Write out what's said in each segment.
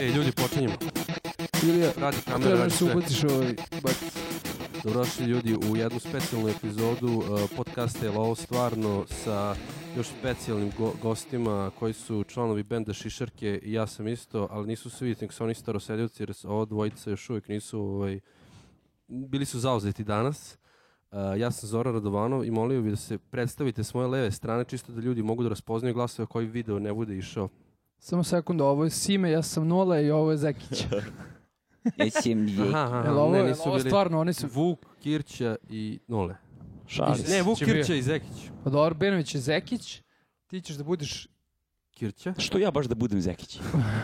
E, Uvijek radi kamera, Trebaš radi se sve. ubaciš ovaj bac. Dobrodošli ljudi u jednu specijalnu epizodu eh, podcasta Jel ovo stvarno sa još specijalnim go- gostima koji su članovi benda Šišarke i ja sam isto, ali nisu svi, nego su oni staroseljavci jer se ova dvojica još uvijek nisu, ovaj, bili su zauzeti danas. Eh, ja sam Zoran Radovanov i molio bih da se predstavite s moje leve strane, čisto da ljudi mogu da raspoznaju glasove koji video ne bude išao. Samo sekund, ovo je Sime, ja sam Nole i ovo je Zekić. Ja sam je. Aha, aha, Jel ovo, ne, je- nisu ovo bili. stvarno, oni su... Vuk, Kirća i Nole. Šalim se. ne, Vuk, Će bio. Kirća i Zekić. Pa dobro, Benović je Zekić, ti ćeš da budeš... Kirća? Što ja baš da budem Zekić?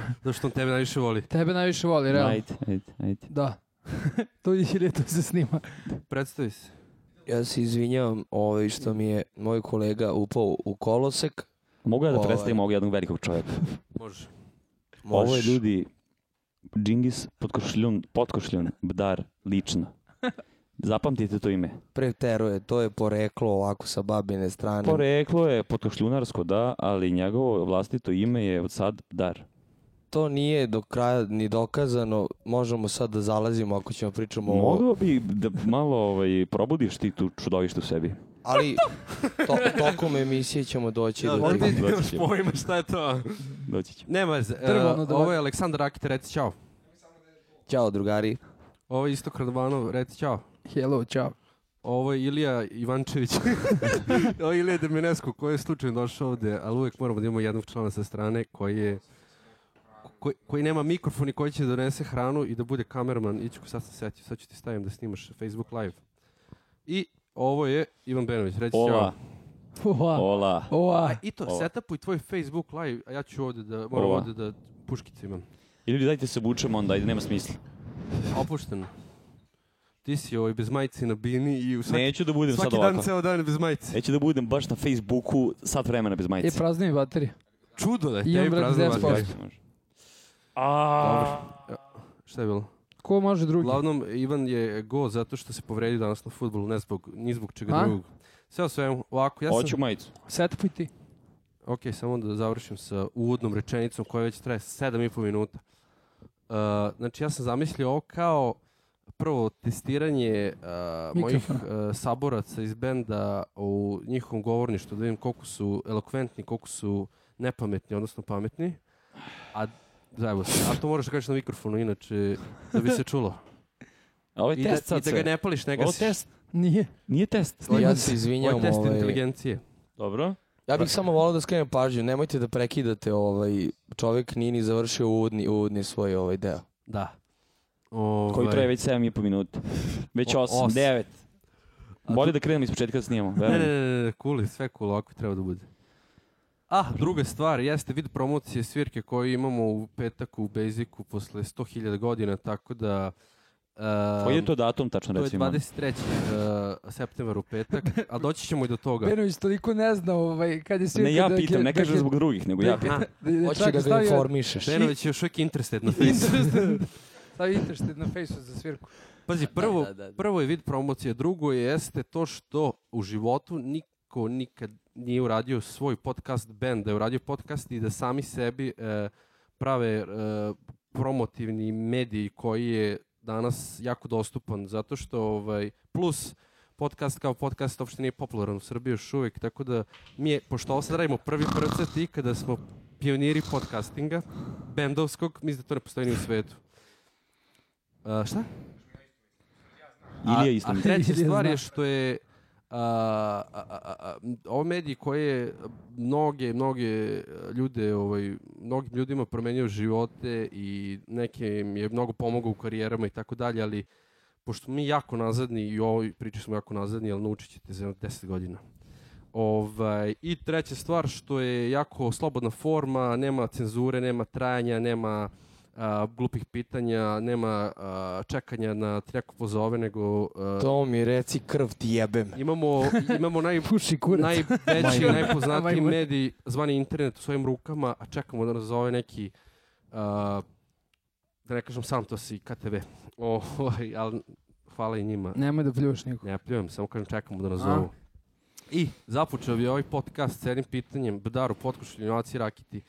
Zato što on tebe najviše voli. Tebe najviše voli, realno. Ajde, ajde, ajde. Da. to ili to se snima. Predstavi se. Ja se izvinjavam ovaj, što mi je moj kolega upao u kolosek. Mogu ja da Ovaj. predstavim ovog jednog velikog čovjeka? Može. Ovo je Možeš. ljudi Džingis potkošljun, potkošljun, bdar, lično. Zapamtite to ime. Preteruje, to je poreklo ovako sa babine strane. Poreklo je potkošljunarsko, da, ali njegovo vlastito ime je od sad bdar. To nije do kraja ni dokazano. Možemo sad da zalazimo ako ćemo pričamo o ovo. Mogao bi da malo ovaj, probudiš ti tu čudovište u sebi. Ali to, tokom emisije ćemo doći Da, do Onda toga. ide- nemaš pojma šta je to. Doći će. Nema veze. E, Prvo ono da- ovo je Aleksandar Akite, reci čao. Ćao drugari. Ovo je Istok Radovanov, reci čao. Hello, čao. Ovo je Ilija Ivančević. ovo je Ilija Deminesko koji je slučajno došao ovde, ali uvek moramo da imamo jednog člana sa strane koji je koji, koji nema mikrofon i koji će da donese hranu i da bude kameraman. Iću, sad sam setio, sad ću ti stavim da snimaš Facebook live. I ovo je Ivan Benović, reci Ola, ćao. Oa, ola. oa. A i to, Ovo. setupuj tvoj Facebook live, a ja ću ovde da, moram Ovo. ovde da puškice imam. I ljudi, dajte se obučemo onda, ajde, nema smisla. Opušteno. Ti si ovaj bez majice na bini i u svaki, Neću da budem sad svaki dan ovako. ceo dan bez majice. Neću da budem baš na Facebooku sat vremena bez E, majice. prazni mi baterije. Čudo da je I on tebi brate prazno 10%. važno. A, Šta je bilo? Ko može drugi? Uglavnom, Ivan je go zato što se povredio danas na futbolu, ne zbog, ni zbog čega A? drugog. Sve o svemu, ovako, ja sam... hoću majicu. Setupuj ti. Ok, samo da završim sa uvodnom rečenicom koja već traje sedam i po minuta. Uh, znači, ja sam zamislio ovo kao prvo testiranje uh, mojih Mikrofona. uh, saboraca iz benda u njihovom govorništu, da vidim koliko su elokventni, koliko su nepametni, odnosno pametni. A zajebo se. A to moraš da kažeš na mikrofonu, inače da bi se čulo. A Ovo je I, test da, I sad da ga sve. ne pališ, ne Ovo gasiš. test. Nije. Nije test. Snima Ja se. se Ovo je izvinjavam. test Ovaj, inteligencije. Dobro. ja bih samo volao da skrenem pažnju. Nemojte da prekidate. Ovaj, čovjek nije ni završio uvodni, uvodni svoj ovaj deo. Da. Koji Ovaj, traje već 7,5 minuta. Već O- 8, osam. 9. A Bolje da krenemo iz početka da snijemo. Ne, ne, verujem. ne, ne, ne, cool je, sve cool, ovako i treba da bude. Ah, druga stvar, jeste vid promocije svirke koju imamo u petak u Basicu posle 100.000 godina, tako da... em, Koji Pa je to datum, tačno to je recimo? 23. Uh, septembar u petak, a doći ćemo i do toga. Benović toliko ne zna ovaj, kad je svirka. Ne, ja da- pitam, ne da- kažem da- zbog drugih, nego ja pitam. Aha, da- da- Hoće čak da ga stavio- informišeš. Benović je još uvijek interested na Facebooku. Interested. Stavi interested na Facebooku za svirku. Pazi, prvo, da, da, da. prvo je vid promocije, drugo je jeste to što u životu niko nikad nije uradio svoj podcast band, da je uradio podcast i da sami sebi e, prave e, promotivni mediji koji je danas jako dostupan, zato što ovaj, plus podcast kao podcast uopšte nije popularan u Srbiji još uvijek, tako da mi je, pošto ovo sad radimo prvi prcet i kada smo pioniri podcastinga, bendovskog, mislim da to ne postoji ni u svetu. E, šta? Ili je isto. A, a treća Ilija stvar zna. je što je a, a, a, a, ovo mediji koje mnoge, mnoge e, ljude, ovaj, mnogim ljudima promenio živote i neke im je mnogo pomogao u karijerama i tako dalje, ali pošto mi jako nazadni i u ovoj priči smo jako nazadni, ali naučit ćete za jedno 10 godina. Ovaj, I treća stvar što je jako slobodna forma, nema cenzure, nema trajanja, nema a, glupih pitanja, nema a, čekanja na treko pozove, nego a, To mi reci krv ti jebem. imamo, imamo naj, Puši kurac. najveći, Majmun. najpoznatiji Majmun. medij zvani internet u svojim rukama, a čekamo da nas zove neki, a, da ne kažem sam to si KTV, Ovaj, ali hvala i njima. Nemoj da pljuš nikog. Ne pljujem, samo kažem čekamo da nas A? zovu. I započeo bi ovaj podcast s jednim pitanjem Bedaru, potkošljenjaci, rakiti.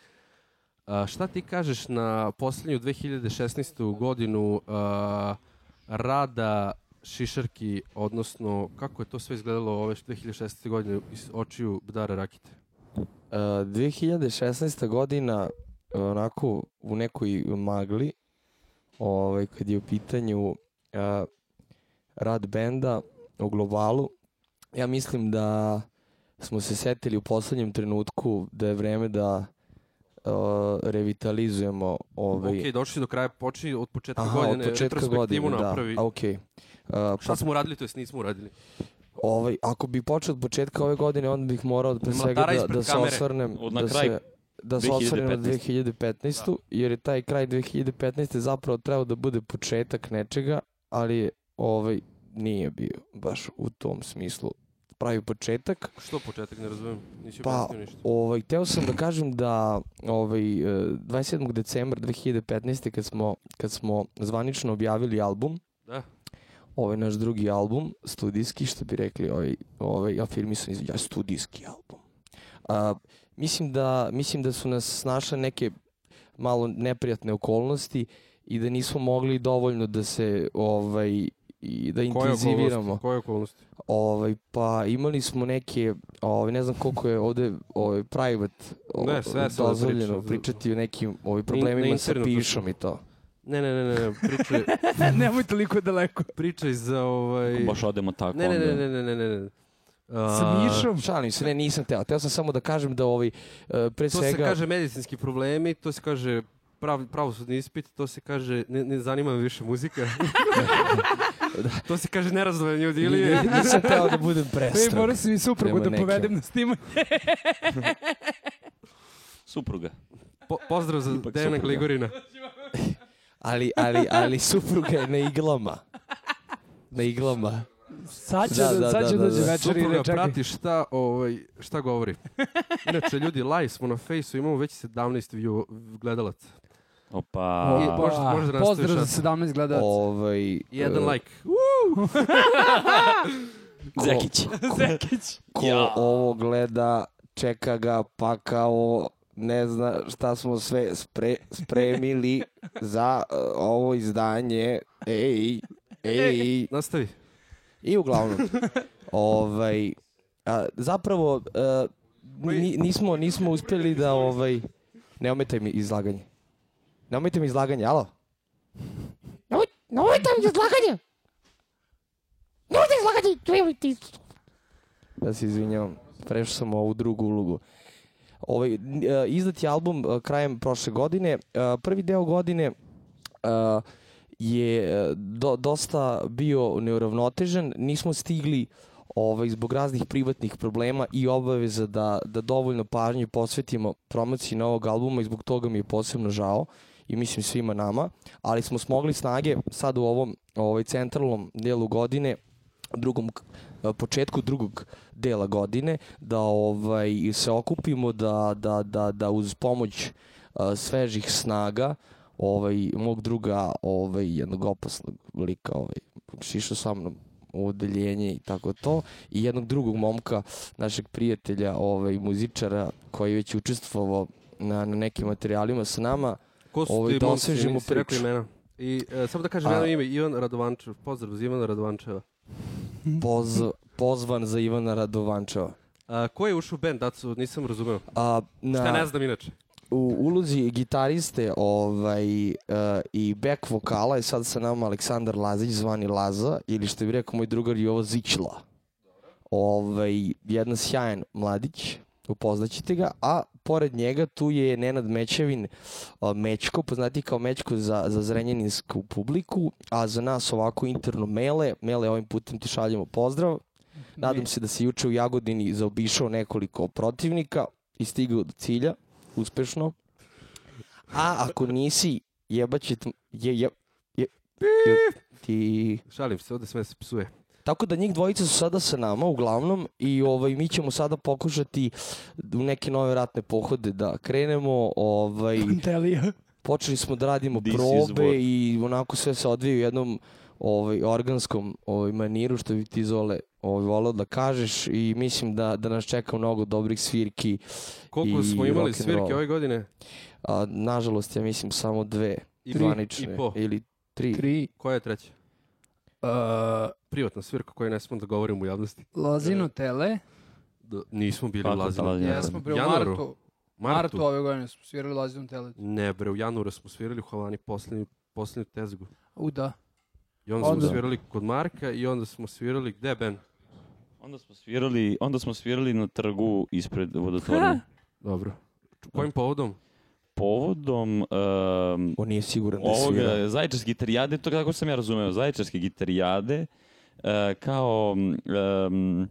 A, šta ti kažeš na posljednju 2016. godinu a, rada Šišarki, odnosno kako je to sve izgledalo ove 2016. godine iz očiju Bdara Rakite? E, 2016. godina onako u nekoj magli ovaj, kad je u pitanju e, rad benda u globalu ja mislim da smo se setili u poslednjem trenutku da je vreme da e, revitalizujemo ovaj Ok, došli do kraja, počni od početka Aha, godine, od početka retrospektivu godine, da. napravi. A, okej. E, Šta smo uradili, to jest nismo uradili. Ovaj, ako bi počeo od početka ove godine, onda bih morao pre Ne svega mlataraj da, ispred da se kamere. osvrnem Od na da kraj se, da se osvrnem na 2015. Da. Jer je taj kraj 2015. zapravo trebao da bude početak nečega, ali ovaj nije bio baš u tom smislu pravi početak. Što početak, ne razumijem, nisi Pa, objasnio ništa. Ovaj, hteo sam da kažem da ovaj, eh, 27. decembra 2015. kad smo, kad smo zvanično objavili album, Da. ovaj naš drugi album, studijski, što bi rekli, ovaj, ovaj afirmisan izvođač, studijski album. A, mislim, da, mislim da su nas snašle neke malo neprijatne okolnosti i da nismo mogli dovoljno da se ovaj i da Koje intenziviramo. okolnosti? Koje okolnosti? Ovaj, pa imali smo neke, ovaj, ne znam koliko je ovde ovaj, private o- Ne, sve se ovde dozvoljeno priča. pričati o nekim ovaj, problemima sa internetu pišom i to. Ne, ne, ne, ne, ne, pričaj, Nemoj toliko daleko. pričaj za ovaj... Baš odemo tako Ne, ne, onda. ne, ne, ne, ne, ne, ne. Sa A, Mišom. Šalim se, ne, nisam teo. Teo sam samo da kažem da ovaj, eh, pre To svega... se kaže medicinski problemi, to se kaže prav, pravosudni ispit, to se kaže ne, ne zanima me više muzika. to se kaže nerazdobenje od Ilije. Ni- Nisam teo da budem Ej, prestrog. moram sam i suprugu Prema da nekim. povedem na snimak. Supruga. Po, pozdrav za Ipak da. Dejana supruga. Gligorina. Ali, ali, ali supruga je na iglama. Na iglama. Sad će da, Da, da, sad će da, da, dođe da. večer i Supruga reče, čekaj. prati šta, ovaj, šta govori. Inače, ljudi, live smo na fejsu, imamo već 17 view, gledalaca. Opa. I- Opa, možda- možda nastaviš Pozdrav za nas. 17 gledalaca. Ovaj, eh, E. I Da. jedan like. ko- Zekić. Zekić. Ko Ja. ovo gleda, čeka ga, pa kao ne zna šta smo sve spre, spremili za eh, ovo izdanje. Ej, ej. Nastavi. I uglavnom, ovaj, a, zapravo e, ni, nismo, nismo uspjeli da, ovaj, ne ometaj mi izlaganje. Ne ometaj mi izlaganje, alo? Nemoj, nemojte mi izlaganje! Nemojte izlaganje! Nemoj ti... Da se izvinjavam, prešao sam u ovu drugu ulogu. Ovaj, n- e, izdat je album e, krajem prošle godine. E, prvi deo godine e, je e, do, dosta bio neuravnotežen. Nismo stigli ovaj, zbog raznih privatnih problema i obaveza da, da dovoljno pažnje posvetimo promociji novog albuma i zbog toga mi je posebno žao i mislim svima nama, ali smo smogli snage sad u ovom ovaj, centralnom delu godine drugom k- e, početku drugog dela godine da ovaj se okupimo da da da da uz pomoć e, svežih snaga ovaj mog druga ovaj jednog opasnog lika ovaj šišao sa mnom u odeljenje i tako to i jednog drugog momka našeg prijatelja ovaj muzičara koji je već učestvovao na, na nekim materijalima sa nama Ko su Ovaj, ti da momci, osvežimo nisi rekli priču. imena. I e, samo da kažem A- jedno ime, Ivan Radovančev. Pozdrav za Ivana Radovančeva. Mhm. poz, pozvan za Ivana Radovančeva. A, ko je ušao u band, Dacu, nisam razumeo. A, na, Šta ne znam inače. u ulozi gitariste ovaj, e, i back vokala je sad sa nama Aleksandar Lazić zvani Laza ili što bi rekao moj drugar Jovo Zićla. Ovaj, jedan sjajan mladić, upoznaćete ga, a pored njega tu je Nenad Mećevin a, Mečko, poznati kao Mečko za, za zrenjaninsku publiku, a za nas ovako interno Mele, Mele ovim putem ti šaljemo pozdrav. Nadam se da si juče u Jagodini zaobišao nekoliko protivnika i stigao do cilja, uspešno. A ako nisi, jebaće ti... Je, je, je, je, ti... Šalim se, ovde sve se psuje. Tako da njih dvojica su sada sa nama uglavnom i ovaj, mi ćemo sada pokušati u neke nove ratne pohode da krenemo. Ovaj, Delija. počeli smo da radimo This is probe war. i onako sve se odvija u jednom ovaj, organskom ovaj, maniru što bi ti zole ovaj, volao da kažeš i mislim da, da nas čeka mnogo dobrih svirki. Koliko I smo imali rock and svirke roll. ove godine? A, nažalost, ja mislim samo dve I zvanične. I po. Ili tri. Tri. Koja je treća? Uh, Privatna svirka koju ne smemo da govorim u javnosti. Lazino tele. Da, nismo bili Pa, u da, Lazinu. Lazinu. Ja. Jesmo bre u Januaru. martu. Martu. Martu ove godine smo svirali Lazino tele. Ne bre, u januaru smo svirali u Havani posljednju, posljednju tezgu. U da. I onda, Onda. smo svirali kod Marka i onda smo svirali gde Ben? Onda smo svirali, onda smo svirali na trgu ispred vodotvorne. Dobro. Kojim povodom? Povodom um, On nije siguran da svira. ovoga, zaječarske gitarijade, to kako sam ja razumeo, zaječarske gitarijade e, kao um,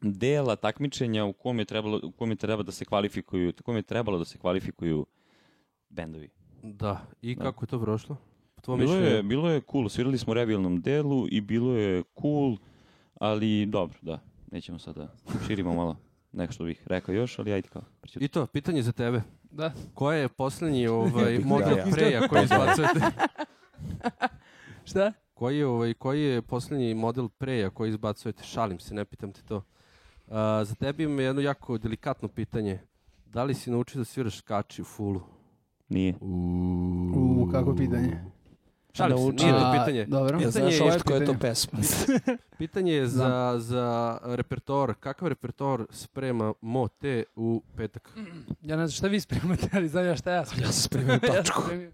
dela takmičenja u kom je trebalo u kom je treba da se kvalifikuju, u kom je trebalo da se kvalifikuju bendovi. Da. I kako je to prošlo? Po tvojom Bilo mišljenju? je, bilo je cool, svirali smo u revijalnom delu i bilo je cool, ali dobro, da, nećemo sada, širimo malo neko što bih rekao još, ali ajde kao. I to, pitanje za tebe. Da. Koja je posljednji ovaj, Pitanje model ja. preja koji Da. izbacujete? Šta? Koji je, ovaj, koji je posljednji model preja koji izbacujete? Šalim se, ne pitam te to. A, za tebe imam jedno jako delikatno pitanje. Da li si naučio da sviraš kači u fulu? Nije. U, kako pitanje. Šalim se, Nauči- nije to A, pitanje. Dobro. Ja Pitanje znaš je- ovo koja je to pitanje. pesma. Pitanje je za, za repertoar. Kakav repertoar sprema Mote u petak? Ja ne znam šta vi spremate, ali znam ja šta ja spremam. ja sam spremio Ja tačku. sam spremio.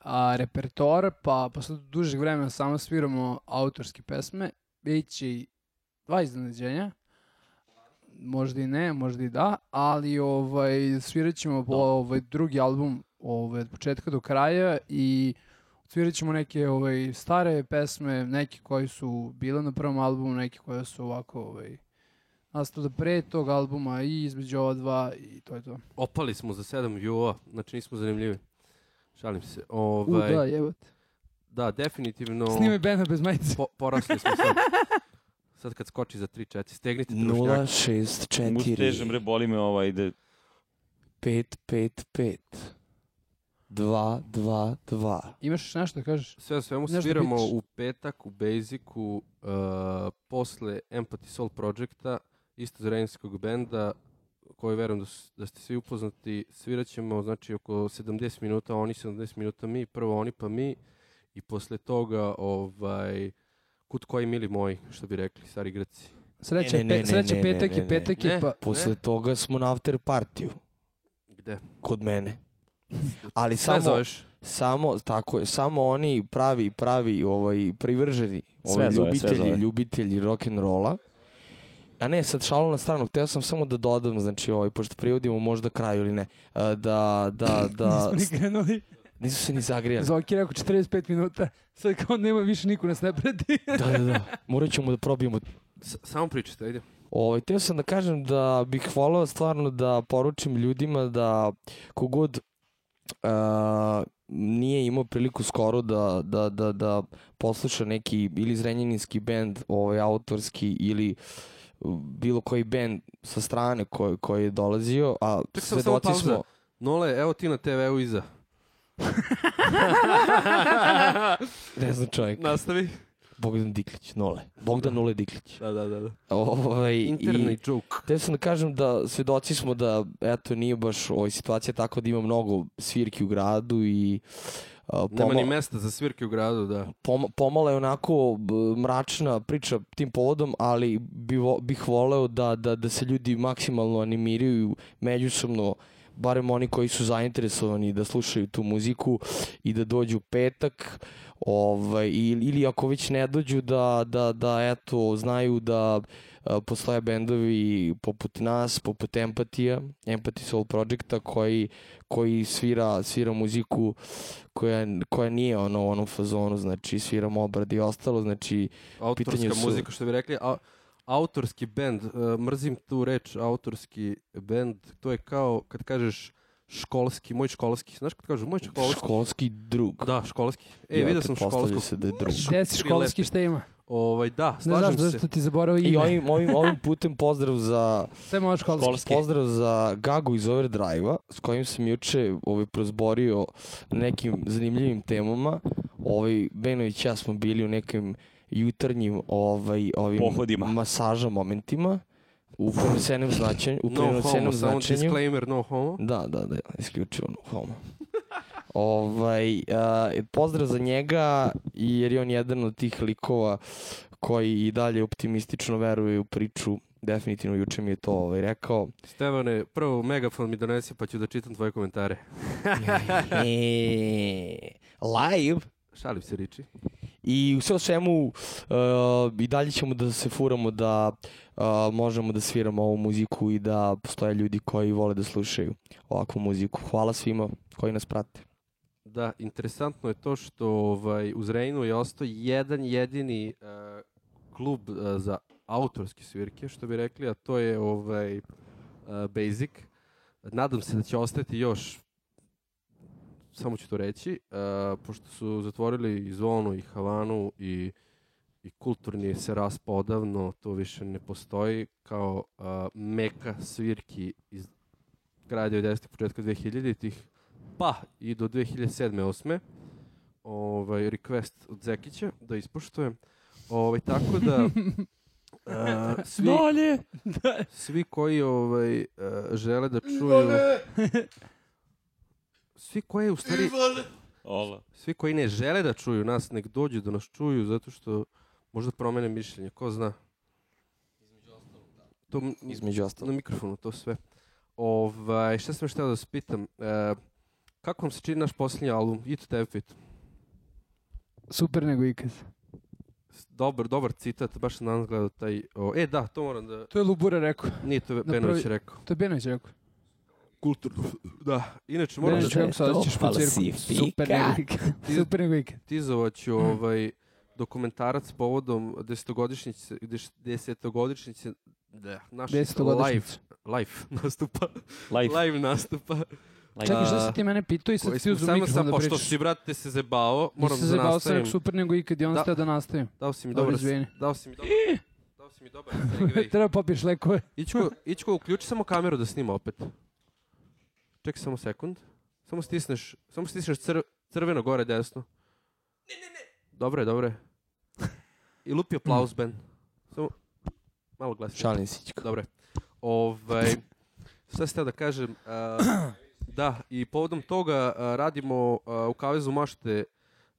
A repertoar, pa posle dužeg vremena samo sviramo autorske pesme. Biće i dva iznenađenja. Možda i ne, možda i da, ali ovaj, svirat ćemo Da. po, ovaj, drugi album ovaj, od početka do kraja i svirat ćemo neke ovaj, stare pesme, neke koje su bile na prvom albumu, neke koje su ovako ovaj, nastale pre tog albuma i između ova dva i to je to. Opali smo za 7 view-a, znači nismo zanimljivi. Šalim se. U, Ovaj, da, da. jebote. definitivno Snimaj benda bez majice. po, porasli smo sad. Sad kad skoči za 3-4, stegnite trušnjak. 0, Mu 6, težem, bre, boli me ovaj, ide 5, 5, 5. 2, 2, 2. Imaš još nešto da kažeš? Sve o svemu Nešto sviramo bitaš. u petak u Basicu uh, posle Empathy Soul Projecta, isto zrenjskog benda koji verujem da, su- da ste svi upoznati. Svirat ćemo znači, oko 70 minuta oni, 70 minuta mi, prvo oni pa mi i posle toga ovaj, kut koji mili moji, što bi rekli, stari Grci. Sreće, Ne, ne, pe- ne, sreće ne, ne, petak ne, i ne. petak je Ne. pa... Posle toga smo na after partiju Gde? kod mene. Ali Sve samo zoveš? samo tako je, samo oni pravi pravi ovaj privrženi, ovaj Sve zove, sve ljubitelji, zove. ljubitelji rock and rolla. A ne, sad šalu na stranu, hteo sam samo da dodam, znači ovaj, pošto privodimo možda kraju ili ne, a, da, da, da, Nismo ni krenuli. nisu se ni zagrijali. Zoki je rekao 45 minuta. Sad kao nema više niko nas ne prati. Da, da, da, morat ćemo da probijemo S- samo pričajte, ajde. Ovaj, teo sam da kažem da bih volao stvarno da poručim ljudima da kogod a, nije imao priliku skoro da, da, da, da posluša neki ili zrenjaninski bend, ovaj, autorski ili bilo koji bend sa strane koji, koji je dolazio, a Ček, samo- samo svedoci pauza. smo... Nole, evo ti na TV-u iza. Ne znam čovjek. Nastavi. Bogdan Diklić, Nole. Bogdan Nole Diklić. Da, da, da. da. Ovaj, i- Interni joke. Te sam da kažem da svedoci smo da eto nije baš ovaj situacija tako da ima mnogo svirki u gradu i a, Nema ni pomo- mesta za svirke u gradu, da. pom- pomalo je onako b, mračna priča tim povodom, ali bi vo- bih voleo da, da, da se ljudi maksimalno animiraju međusobno barem oni koji su zainteresovani da slušaju tu muziku i da dođu u petak ovaj, ili, ili ako već ne dođu da, da, da eto znaju da e, postoje bendovi poput nas, poput Empatija, Empathy Soul Projecta koji, koji svira, svira muziku koja, koja nije ono u onom fazonu, znači sviramo obrad i ostalo, znači Autorska pitanju su- muzika, što bi rekli. A, autorski bend, e, mrzim tu reč, autorski bend, to je kao kad kažeš školski, moj školski, znaš kad kažu moj školski? školski drug. Da, školski. E, Ja, vidio sam pretpostavlja školsko. se da je drug. Gde si školski šta ima? Ovaj, da, Ne znaš slažem se. zašto ti zaboravio I ime. ovim, ovim, ovim putem pozdrav za Sve može školski. Školski. pozdrav za Gagu iz Overdrive-a s kojim sam juče ovaj, prozborio na nekim zanimljivim temama. Ovaj, Benović i ja smo bili u nekim jutarnjim ovaj, ovim Pohodima. masaža momentima u prenosenom značenju. U No homo, prenosenom samo značenju. disclaimer, no homo. Da, da, da, isključivo no homo. ovaj, a, pozdrav za njega, jer je on jedan od tih likova koji i dalje optimistično veruje u priču. Definitivno, juče mi je to ovaj, rekao. Stevane, prvo megafon mi donesi pa ću da čitam tvoje komentare. live Šalim se, Riči. I u sve o svemu uh, i dalje ćemo da se furamo da uh, možemo da sviramo ovu muziku i da postoje ljudi koji vole da slušaju ovakvu muziku. Hvala svima koji nas prate. Da, interesantno je to što ovaj, uz Reinu je ostao jedan jedini eh, klub eh, za autorske svirke, što bi rekli, a to je ovaj, eh, Basic. Nadam se da će ostati još, samo ću to reći, eh, pošto su zatvorili i Zvonu i Havanu i, i kulturni se raspa odavno, to više ne postoji, kao eh, meka svirki iz kraja 90. početka 2000 tih pa i do 2007. 8. Ovaj, request od Zekića da ispoštujem. Ovaj, tako da... e, svi, Dalje! svi koji ovaj, e, žele da čuju... Svi koji u stvari... Ola. Svi koji ne žele da čuju nas, nek dođu da nas čuju, zato što možda promene mišljenje, ko zna. To, m- Između na ostalog. mikrofonu, to sve. Ovaj, šta sam još htio da se pitam? E, kako vam se čini naš posljednji album? It to Fit. Super nego ikad. Dobar, dobar citat, baš sam danas gledao taj... O, e, da, to moram da... To je Lubura rekao. Nije to prvi- Benović rekao. To je Benović rekao. Kulturno. Da, inače moram da Benović da rekao, je sad to ćeš po cirku. Super nego ikad. Super nego ikad. Mm. tizovaću ovaj dokumentarac povodom desetogodišnjice, deš- desetogodišnjice da, naših live, Desetogodišnjica. live nastupa. Life. Live nastupa. Life. Čekaj, šta A, si ti mene pitao i sad Koji ti smo uzem samo mikrofon sam, da pošto pričaš. si, brate, se zebao, moram Nisam da zajebao, sam nastavim. rekao super nego ikad i on Da. steo da nastavim. Dao si mi Dobro, dobar, izvini. dao si mi dobar, dao si mi dobar segway. Treba popiješ lekove. Ićko, Ićko, uključi samo kameru da snima opet. Čekaj samo sekund. Samo stisneš, samo stisneš cr, crveno gore desno. Ne, ne, ne. Dobro je, dobro je. I lupi aplauz, Ben. Samo malo glasnije. Šalim se. Ćko. Dobro je. Ovaj, šta ste da kažem? a, da, i povodom toga a, radimo a, u Kavezu Mašte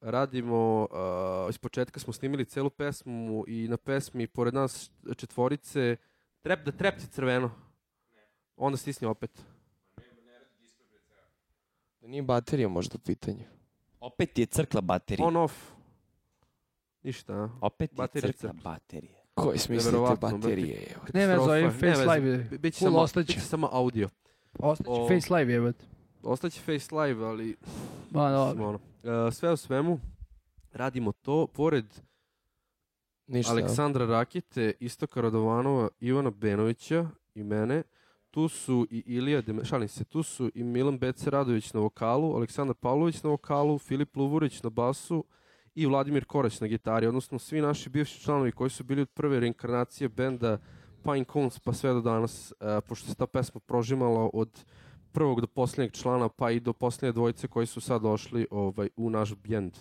radimo, uh, iz početka smo snimili celu pesmu i na pesmi pored nas četvorice trep da trepci crveno. Onda stisni opet. Da Nije baterija možda u pitanju. Opet je crkla baterija. On off. Ništa, a? Opet je Baterija crkla crkla. baterije. Koji smisli te Neverovatno, baterije? evo? Ne veze, Katastrofa. ovim Ne face Oh, veze, live je. bi- Biće Cool, samo, ostaće. biće samo audio. Ostaće O. face live jebate. Ostaće face live, ali Ba, mislim, dobro. ono. E, sve u svemu, radimo to. Pored Ništa. Aleksandra Rakite, Istoka Radovanova, Ivana Benovića i mene. Tu su i Ilija, Deme, šalim se, tu su i Milan Bece Radović na vokalu, Aleksandar Pavlović na vokalu, Filip Luvurić na basu i Vladimir Korać na gitari, odnosno svi naši bivši članovi koji su bili od prve reinkarnacije benda Pine Cones pa sve do danas, e, pošto se ta pesma prožimala od prvog do posljednjeg člana pa i do posljednje dvojice koji su sad došli ovaj, u naš bjend.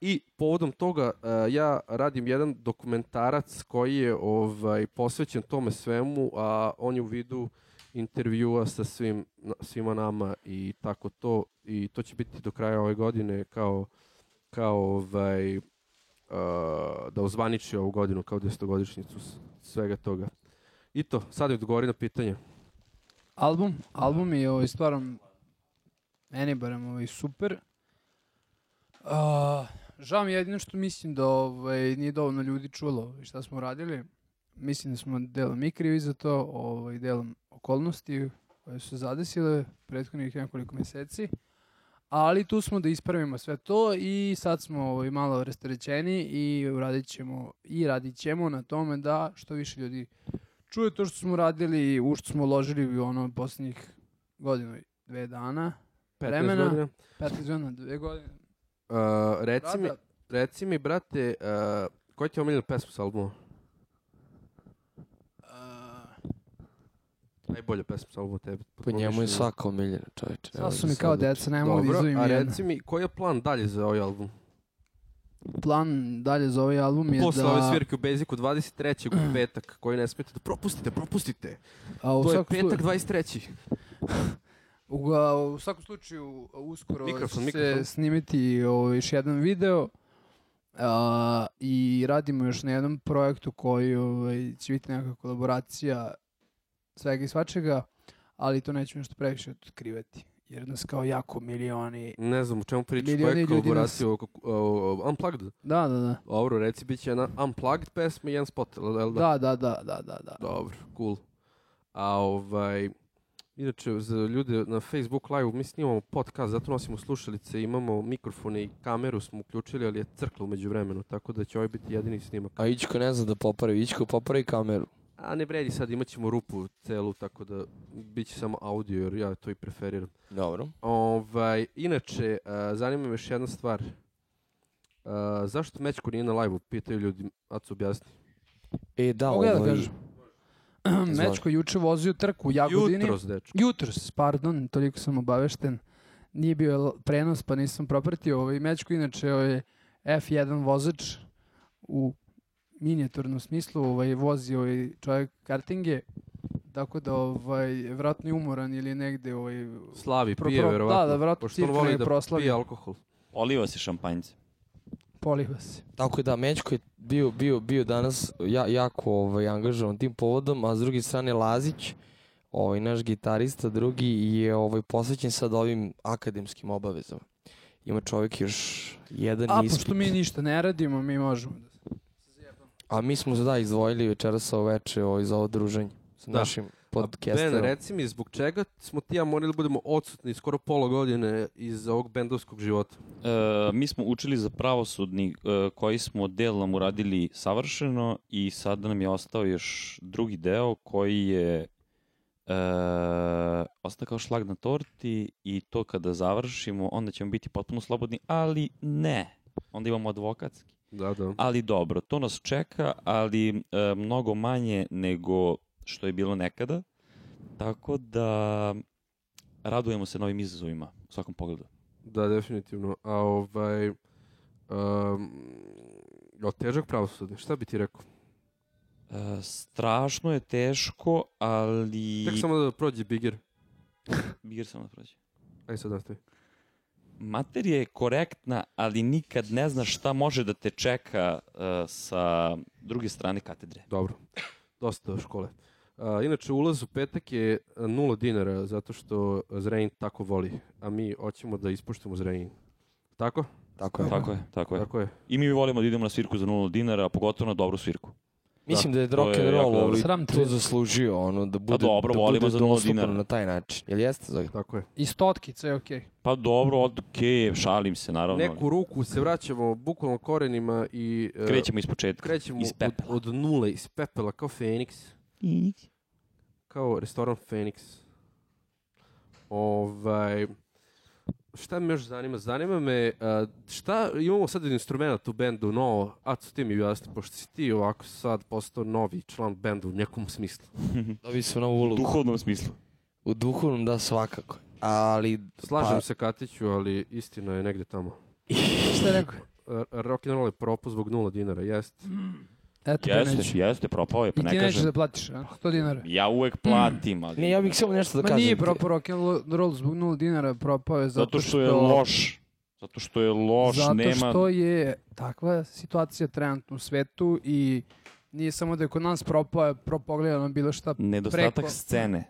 I povodom toga e, ja radim jedan dokumentarac koji je ovaj posvećen tome svemu, a on je u vidu intervjua sa svim na- svima nama i tako to i to će biti do kraja ove godine kao kao ovaj e, da ozvaniči ovu godinu kao desetogodišnjicu s- svega toga. I to, sad je odgovori na pitanje. Album, album je ovaj, stvarno meni barem ovaj, super. A, žao mi je jedino što mislim da ovaj, nije dovoljno ljudi čulo ovaj, šta smo radili. Mislim da smo delom mi krivi za to, ovaj, delom okolnosti koje su zadesile prethodnih nekoliko meseci. Ali tu smo da ispravimo sve to i sad smo ovaj, malo rasterećeni i radit ćemo, i radit ćemo na tome da što više ljudi čuje to što smo radili i u što smo uložili u ono posljednjih godinu i dve dana. 15 Vremena. godina. 15 godina, dve godine. E, reci, mi, Rada, reci mi, brate, e, koja ti je omiljena pesma s albuma? uh, Najbolja pesma sa albuma tebe. Po njemu je mišljenju. svaka omiljena čoveče. ne sad su može mi kao sad da- deca, ne mogu da Dobro, izdvojim a jednu. reci mi, koji je plan dalje za ovaj album? plan dalje za ovaj album je Posle da... ove svirke u Basicu 23. u petak, koji ne smete da propustite, propustite. a, u To je svakom slu- petak 23. U, a, u svakom slučaju uskoro Mikrofon, će mikrofon. se snimiti ovaj, još jedan video a, i radimo još na jednom projektu koji ovaj, će biti neka kolaboracija svega i svačega, ali to neću nešto previše otkrivati. Jer nas kao jako milioni... Ne znam u čemu pričaš, Milioni koja je ljudi nas- kolaboracija oko- o- o- Unplugged? Da, da, da. Dobro, reci, bit će jedna Unplugged pesma i jedan spot, jel da? Da, da, da, da, da, da. Dobro, cool. A ovaj... Inače, za ljude na Facebook live, mi snimamo podcast, zato nosimo slušalice, imamo mikrofone i kameru smo uključili, ali je crklo umeđu vremenu, tako da će ovaj biti jedini snimak. A Ićko ne zna da popravi, Ićko popravi kameru. A ne vredi sad, imat ćemo rupu celu, tako da bit će samo audio, jer ja to i preferiram. Dobro. Ovaj, inače, e, zanima me još jedna stvar. E, zašto Mečko nije na live-u? Pitaju ljudi, a co objasni. E, da, Mogu ja da ovaj- kažem? Mečko je juče vozio trku u Jagodini. Jutros, dečko. Jutros, pardon, toliko sam obavešten. Nije bio l- prenos, pa nisam propratio. Ovaj Mečko, inače, ovaj F1 vozač u minijaturnom smislu, ovaj, vozi ovaj čovjek kartinge, tako da ovaj, vratno je umoran ili je negde ovaj, Slavi, Pro- pije, pro- verovatno. da, da, vratno Pošto on cirkne voli i da proslavi. pije alkohol. Oliva se šampanjce. poliva se. Tako je da, Mečko je bio, bio, bio danas ja, jako ovaj, angažovan tim povodom, a s druge strane Lazić, ovaj, naš gitarista drugi, je ovaj, posvećen sad ovim akademskim obavezama. Ima čovjek još Da jedan A, ispit. pošto mi ništa ne radimo, mi možemo. da A mi smo se da izdvojili večeras ovo veče ovaj, za ovo druženje sa Da. našim Ben, podcasterom. reci mi, zbog čega smo ti i ja morali da budemo odsutni skoro pola godine iz ovog bendovskog života? E, mi smo učili za pravosudni e, koji smo del nam uradili savršeno i sada nam je ostao još drugi deo koji je e, ostao kao šlag na torti i to kada završimo onda ćemo biti potpuno slobodni, ali ne. Onda imamo advokatski. Da, da. Ali dobro, to nas čeka, ali e, mnogo manje nego što je bilo nekada. Tako da radujemo se novim izazovima u svakom pogledu. Da, definitivno. A ovaj... Um, jel težak pravosudni, šta bi ti rekao? E, strašno je teško, ali... Tek samo da prođe Bigger. Mir samo da prođe. Ajde sad nastavi. Materija je korektna, ali nikad ne znaš šta može da te čeka e, sa druge strane katedre. Dobro. Dosta škole. A, inače, ulaz u petak je e, nula dinara, zato što Zrenjanin tako voli. A mi hoćemo da ispuštamo Zrenjanin. Tako? Tako je. Tako je, tako Pa je. Tako je. I mi volimo da idemo na svirku za 0 dinara, a pogotovo na dobru svirku. Mislim da je to je rock and jako roll dobro. ovaj, Sram te. to zaslužio, ono, da bude, dobro, da volimo bude za nula dostupno dinara. na taj način. Jel jeste, Zogi? Tako je. I stotkica je okej. Pa dobro, okej, šalim se naravno. Neku ruku se vraćamo bukvalno korenima i... e, Krećemo iz početka. krećemo iz od, pepela. od nule, iz pepela, kao Feniks. Kao restoran Feniks. Ovaj... Šta me još zanima? Zanima me a, šta imamo sad od instrumenta u bendu novo, a co ti mi jasno, pošto si ti ovako sad postao novi član benda u nekom smislu. Mhm. Dobio sam novu ulogu. duhovnom smislu. U duhovnom da svakako. Ali Slažem Pa- se Katiću, ali istina je negde tamo. Šta je rekao? R- Rock'n'roll je propao zbog nula dinara, jest. Eto, ja neću. Jeste, jeste, propao je, pa I ne ti nećeš kažem. da platiš, a? 100 dinara. Ja uvek platim, ali... Ne, ja bih samo nešto da Ma kažem. nije propao rock'n'roll zbog 0 dinara, propao je Zato što je loš. Zato što je loš, Zato nema... što je takva situacija trenutno u svetu i nije samo da je kod nas propao, propogledano bilo šta. Nedostatak preko- scene.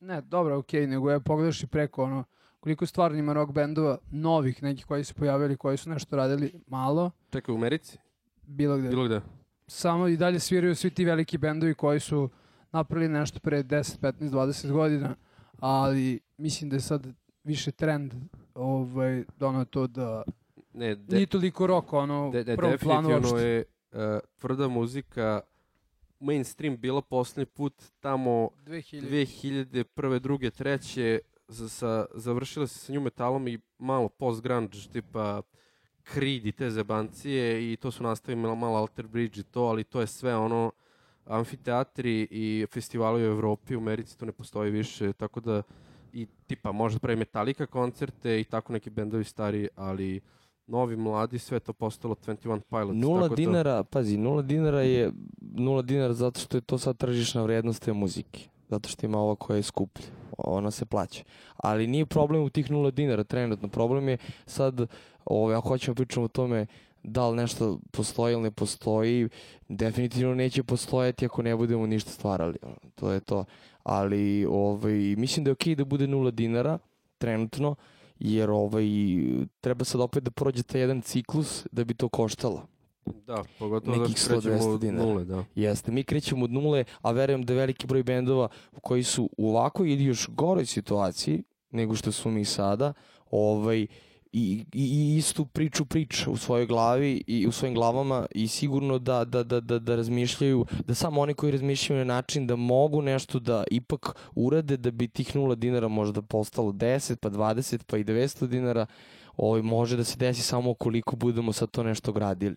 Ne, dobro, okej, nego je pogledaš i preko ono, koliko stvarno ima rock bendova novih, nekih koji su pojavili, koji su nešto radili malo, Čekaj, u Americi? bilo gde. Bilo gde? Samo i dalje sviraju svi ti veliki bendovi koji su napravili nešto pre 10, 15, 20 godina, ali mislim da je sad više trend ovaj, ono to da Ne, nije toliko rock ono De, de, u prvom planu definitivno uopšte. je e, tvrda muzika mainstream bila posljednji put tamo 2000. 2001. druge, treće za, sa, završila se sa nju metalom i malo post-grunge tipa Creed i te zebancije i to su nastavili malo, malo Alter Bridge i to, ali to je sve ono amfiteatri i festivali u Evropi, u Americi to ne postoji više, tako da i tipa možda pravi Metallica koncerte i tako neki bendovi stari, ali novi, mladi, sve to postalo 21 Pilots. Nula tako da- dinara, pazi, nula dinara je nula dinara zato što je to sad tržišna vrijednost te muzike. Zato što ima ova koja je skuplja. Ona se plaća. Ali nije problem u tih nula dinara trenutno. Problem je sad, ovaj, ako hoćemo pričamo o tome da li nešto postoji ili ne postoji, definitivno neće postojati ako ne budemo ništa stvarali. ono, To je to. Ali ovaj, mislim da je okej da bude nula dinara trenutno, jer ovaj, treba sad opet da prođe taj jedan ciklus da bi to koštalo. Da, pogotovo nekih da krećemo 100-200 od dinara. nule, da. Jeste, mi krećemo od nule, a verujem da veliki broj bendova koji su u ovakvoj ili još goroj situaciji nego što su mi sada, ovaj, i, i, i istu priču priča u svojoj glavi i u svojim glavama i sigurno da, da, da, da, da razmišljaju, da samo oni koji razmišljaju na način da mogu nešto da ipak urade da bi tih nula dinara možda postalo 10, pa 20, pa i 900 dinara, ovaj, može da se desi samo koliko budemo sad to nešto gradili.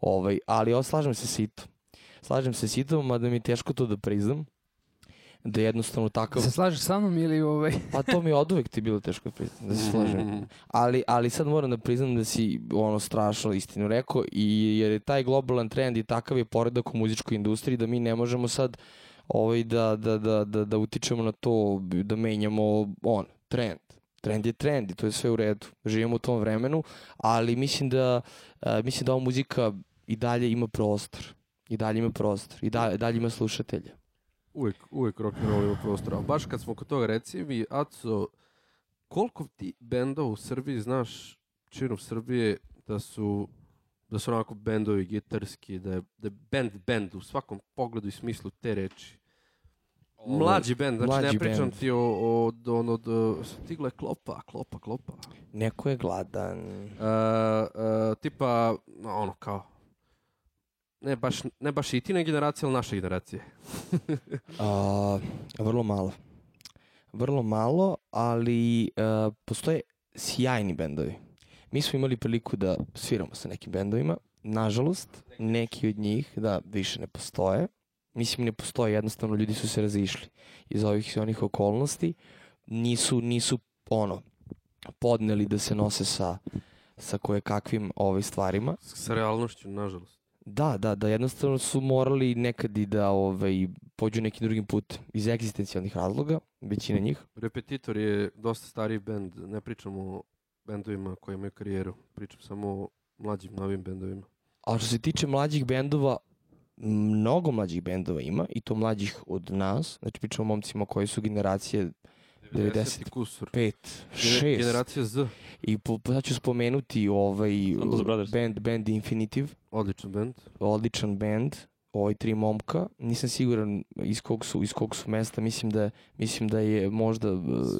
Ovaj, ali ja slažem se s Itom. Slažem se s Itom, mada mi je teško to da priznam. Da jednostavno takav... Se slažeš sa mnom ili ovaj... Pa to mi je od uvek ti bilo teško da priznam, da se slažem. Mhm. Ali, ali sad moram da priznam da si ono strašno istinu rekao i jer je taj globalan trend i takav je poredak u muzičkoj industriji da mi ne možemo sad ovaj, da, da, da, da, da utičemo na to, da menjamo on, trend. Trend je trend i to je sve u redu. Živimo u tom vremenu, ali mislim da, a, mislim da ova muzika i dalje ima prostor. I dalje ima prostor. I da, dalje, dalje ima slušatelja. Uvijek, uvijek rock and roll ima prostora. A Baš kad smo kod toga, reci mi, Aco, koliko ti benda u Srbiji znaš, činom Srbije, da su da su onako bendovi gitarski, da je, da je band bend u svakom pogledu i smislu te reči. Mlađi bend, znači mlađi ne pričam bend. ti o, o, od, ono, od, e, stigla je klopa, klopa, klopa. E, Neko je gladan. E, e, tipa, ono kao, ne baš, ne baš i tine generacije, ali naše generacije. A, vrlo malo. Vrlo malo, ali a, postoje sjajni bendovi. Mi smo imali priliku da sviramo sa nekim bendovima. Nažalost, neki od njih da više ne postoje. Mislim, ne postoje, jednostavno ljudi su se razišli iz ovih i onih okolnosti. Nisu, nisu ono, podneli da se nose sa, sa koje kakvim ovaj, stvarima. S, s realnošću, nažalost. Da, da, da jednostavno su morali nekad i da ovaj, pođu nekim drugim putem iz egzistencijalnih razloga, većina njih. Repetitor je dosta stariji bend, ne pričam o bendovima koji imaju karijeru, pričam samo o mlađim novim bendovima. A što se tiče mlađih bendova, mnogo mlađih bendova ima i to mlađih od nas. Znači pričamo o momcima koji su generacije 90. i kusur. 5, Gene- 6. Generacija Z, I po, po- sad ću spomenuti ovaj Blues Brothers. band, band Infinitive, odličan bend. odličan band, ovaj tri momka, nisam siguran iz kog su, iz kog su mesta, mislim da, mislim da je možda eh,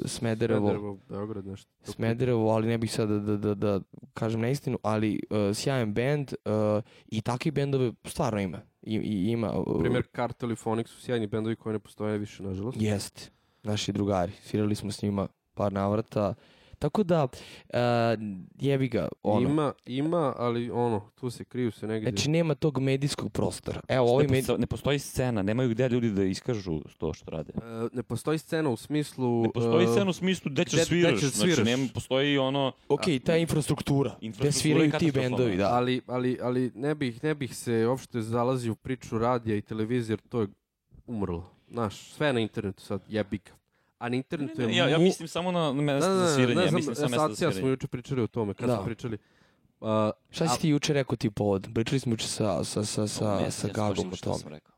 Smederevo, Beograd nešto. Smederevo, ali ne bih sada da, da, da kažem neistinu, ali uh, sjajan bend uh, i takvih bendove stvarno ima. I, i ima uh, Primjer, Kartel i Phonix su sjajni bendovi koji ne postoje više, nažalost. Jeste, naši drugari. Svirali smo s njima par navrata. Tako da, uh, jebi ga, ono. Ima, ima, ali ono, tu se kriju se negdje. Znači, nema tog medijskog prostora. Evo, ovaj Ne, med... posto, ne postoji scena, nemaju gde ljudi da iskažu to što rade. E, ne postoji scena u smislu... Ne postoji e, scena u smislu gde gde- ćeš gde sviraš. ćeš Znači, sviraš. nema, postoji ono... Ok, ta infrastruktura, gde Infrastruktura sviraju je ti katastrofalna. bendovi, da. Ali, ali, ali ne, bih, ne bih se uopšte zalazio u priču radija i televizije, jer to je umrlo. Znaš, sve je na internetu sad, jebiga. A na internetu je... Ne, ja, ja mu- mislim samo na, Da, na mesta da, da, za sviranje. ne Ja znam, mislim samo mesta za sad ja smo sviranje. juče pričali o tome, kad Da. smo pričali. a, Šta al- si ti juče rekao ti povod? Pričali smo juče sa, sa, sa, Ne sa, sjećam sa se Gagom točno o šta sam tome. rekao.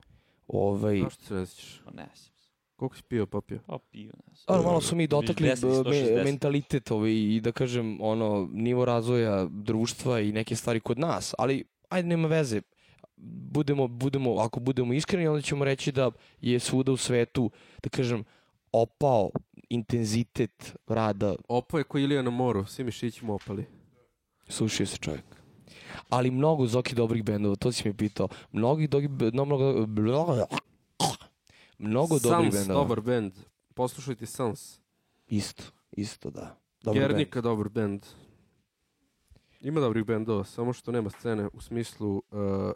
Ovaj, Zašto se ne sjećaš? Pa Ne sjećam se. Koliko si pio, popio? Pa pio, ne sjećam. Ali malo su mi dotakli 10, b- me- 160. mentalitet ovaj, i da kažem ono nivo razvoja društva i neke stvari kod nas, ali ajde nema veze. Budemo, budemo, ako budemo iskreni, onda ćemo reći da je svuda u svetu, da kažem, opao intenzitet rada, Opo je ko Ilija na moru, svi mišići mu opali. slušio se čovjek. Ali mnogo Zoki dobrih bendova, to si mi pitao. Mnogi dogi, no, mnogo, mnogo dobrih Sans, bendova. dobar bend. Poslušajte Sans. Isto, isto da. Dobar bend. Gernika, dobar bend. Ima dobrih bendova, samo što nema scene u smislu... e,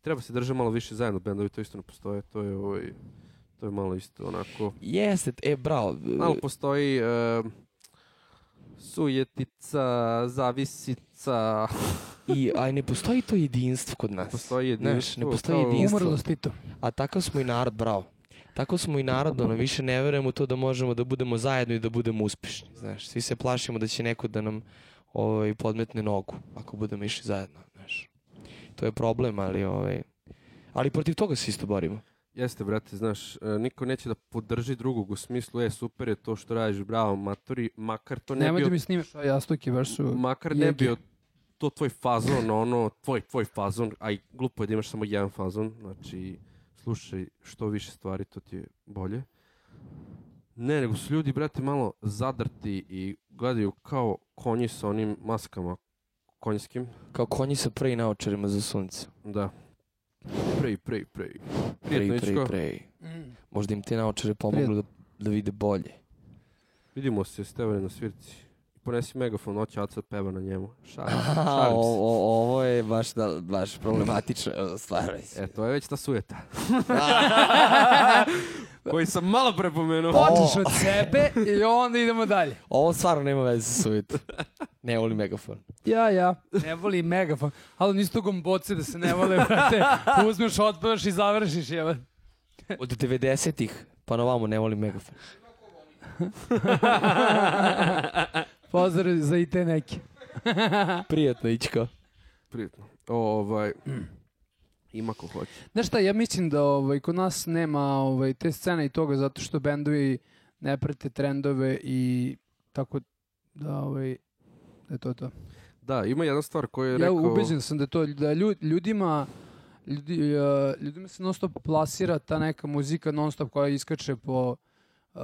treba se drže malo više zajedno, bendovi to isto ne postoje, to je ovaj... To je malo isto onako... Jeste, e bravo. Malo postoji... e, Sujetica, zavisica, I, aj, ne postoji to jedinstvo kod nas. postoji Znaš, jedinstvo. ne postoji kao- jedinstvo. Umrlo s Tito. A takav smo i narod, bravo. Tako smo i narod, ono, više ne verujemo u to da možemo da budemo zajedno i da budemo uspešni, znaš. Svi se plašimo da će neko da nam ovaj, podmetne nogu, ako budemo išli zajedno, znaš. To je problem, ali, ovaj, ali protiv toga se isto borimo. Jeste, brate, znaš, e, niko neće da podrži drugog u smislu, e, super je to što radiš, bravo, maturi, makar to ne Nemoj da bio, mi Mm. snimaš ove jastuke, baš su... makar ne jegi. bio to tvoj fazon, ono, tvoj, tvoj fazon, a i glupo je da imaš samo jedan fazon, znači, slušaj, što više stvari, to ti je bolje. Ne, nego su ljudi, brate, malo zadrti i gledaju kao konji sa onim maskama konjskim, Kao konji sa prej naočarima za sunce. da. Prej, prej, prej. Prej, Prijetno, prej, Ičko. prej. Možda im te naočare pomoglu da, da vide bolje. Vidimo se, Stevane, na svirci. Ponesi megafon, noć Aca da peva na njemu. Šalim se, Aha, šalim o, se. o, ovo je baš, da, baš problematično, evo, stvarno. mislim. E, to je već ta sujeta. Koji sam malo prepomenuo. Počneš od sebe i onda idemo dalje. Ovo stvarno nema veze sa sujetom. Ne volim megafon. Ja, ja. Ne voli megafon. Ali nisu to gomboce da se ne vole, brate. Uzmeš, otpadaš i završiš, jeva. Od 90-ih pa na ovamo ne volim megafon. Pozdrav za i te neke. Prijatno, Ićko. Prijetno. Ovaj, ima ko hoće. Znaš šta, ja mislim da ovaj, kod nas nema ovaj, te scene i toga zato što bendovi ne prate trendove i tako da ovaj, da je to to. Da, ima jedna stvar koju je Ja rekao... ubeđen sam da je to da lju- ljudima ljudi, e, ljudima se non stop plasira ta neka muzika non stop koja iskače po uh,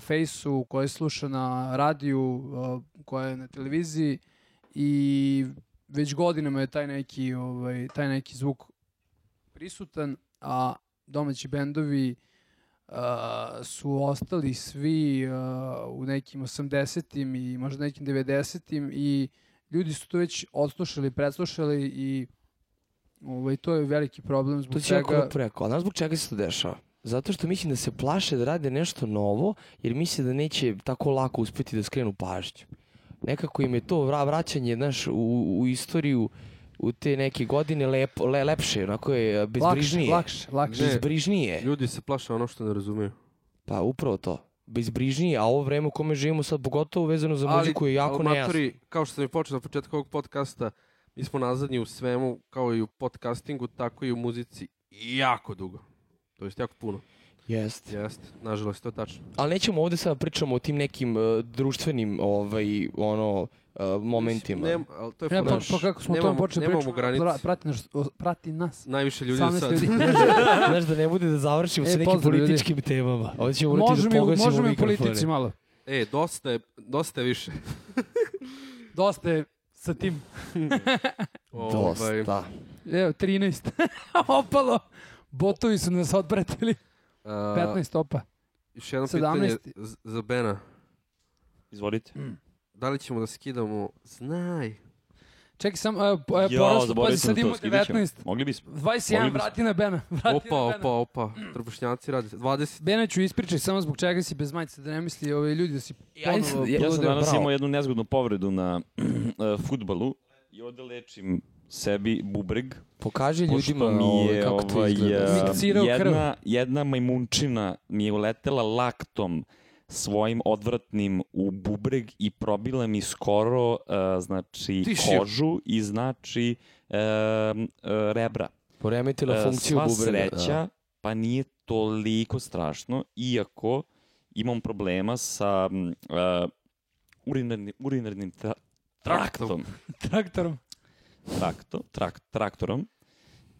fejsu, koja je sluša na radiju, e, koja je na televiziji i već godinama je taj neki ovaj taj neki zvuk prisutan, a domaći bendovi e, su ostali svi e, u nekim 80-im i možda nekim 90-im i ljudi su to već odslušali, preslušali i ovaj, to je veliki problem zbog To će jako čega... da preko. A znaš zbog čega se to dešava? Zato što mislim da se plaše da rade nešto novo, jer misle da neće tako lako uspeti da skrenu pažnju. Nekako im je to vra- vraćanje znaš, u, u istoriju u te neke godine lepo, le, lepše, onako je e, bezbrižnije. lakše, lakše. Ne. Bezbrižnije. Ljudi se plaše ono što ne razumiju. Pa upravo to. Bezbrižnije, a ovo vreme u kome živimo sad, pogotovo vezano za muziku, je jako ali, nejasno. matori, kao što sam i počeo na početku ovog podcasta, mi smo nazadnji u svemu, kao i u podcastingu, tako i u muzici. Jako dugo. To jest jako puno. Jeste. Jeste, nažalost, to je tačno. Ali nećemo ovde sada pričamo o tim nekim e, društvenim ovaj, ono, e, momentima. Nem, ali to je Ja, fora. pa, pa kako smo o tome Nemamo- počeli nemamo pričati, granice. pra- prati nas, o- prati nas. Najviše ljudi do 18 sad. ljudi. Znaš da ne bude da završimo E, sa nekim pozdrav, ljudi. političkim temama. Ovdje ćemo morati Možemo, da i- pogasimo možemo i u mikrofone. politici malo. E, dosta je, dosta je više. Dosta je sa tim. Ovaj, Dosta. Evo, 13. Opalo. Botovi su nas odpratili. a, 15 opa. Uh, Još jedno 17. pitanje z- za Bena. Izvolite. Da li ćemo da skidamo? Znaj. Čekaj sam, evo, Pa po- evo, porastu, pazi, da sad imamo 19. Mogli bismo. 21, Mogli bi- vrati na Bena. Vrati Opa, na Pa, Bena. opa, opa. Trbušnjaci radi. 20. Bena ću ispričati samo zbog čega si bez majice, da ne misli ovi ljudi da si Ja, ponovo sam, ja, Ja sam danas danas bravo. imao jednu nezgodnu povredu na e, futbalu i ovde lečim sebi bubreg, Pokaži pošto ljudima mi je ovaj, kako to ovaj, izgleda. eh, Miksirao krv. jedna, jedna majmunčina mi je uletela laktom svojim odvratnim u bubreg i probila mi skoro eh, znači Tišiju. kožu i znači eh, eh, rebra. Poremetila E, funkciju sva bubrega. sreća, Da. pa nije toliko strašno, iako imam problema sa mm, e, urinarni, urinarnim tra- traktom. traktorom. Trakto, trak, traktorom.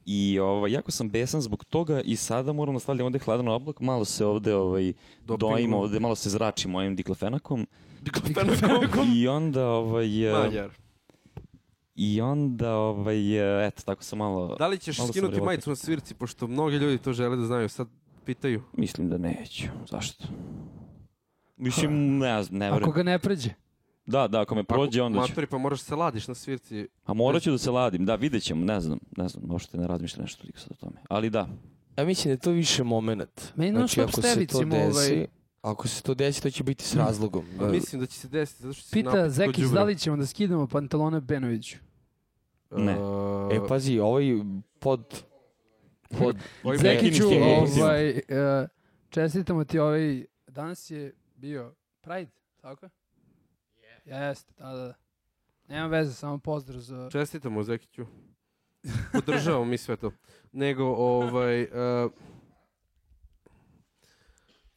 I ovaj, jako sam besan zbog toga i sada moram da stavljam ovde hladan oblak, malo se ovde ovaj, Dopingom. dojim, ovde malo se zračim ovim diklofenakom. Diklofenakom. I onda, ovaj, e, Mađar. i onda, ovaj, e, eto, tako sam malo, Da li ćeš Malo sam skinuti revoltan. majicu na svirci, pošto mnogi ljudi to žele da znaju. Sad pitaju. mislim da neću. Zašto? Mislim, ne, znam, ne verujem. Ako ga ne pređe. Da, da, ako me prođe, onda ću. Matori, pa moraš se ladiš na svirci. A morat ću da se ladim, da, vidjet ćemo, ne znam, ne znam, uopšte ne razmišljam nešto toliko sad o tome. Ali da, Ja mislim da je to više moment. Meni non znači, stop ako se to stevicima, ovaj, desi, Ako se to desi, to će biti s razlogom. E. A mislim da će se desiti, zato što si Pita napitko Zekić đubre. da li ćemo da skidamo pantalone Benoviću. Ne. E, E, pazi, ovaj pod... pod Ovaj Zekić Bekin- Zekiću, je- ovaj, e, čestitamo ti ovaj, danas je bio Pride, tako? Jeste, da, da. da. Nema veze, samo pozdrav za... Čestitamo Zekiću. Podržavamo mi sve to. Nego, ovaj... Uh,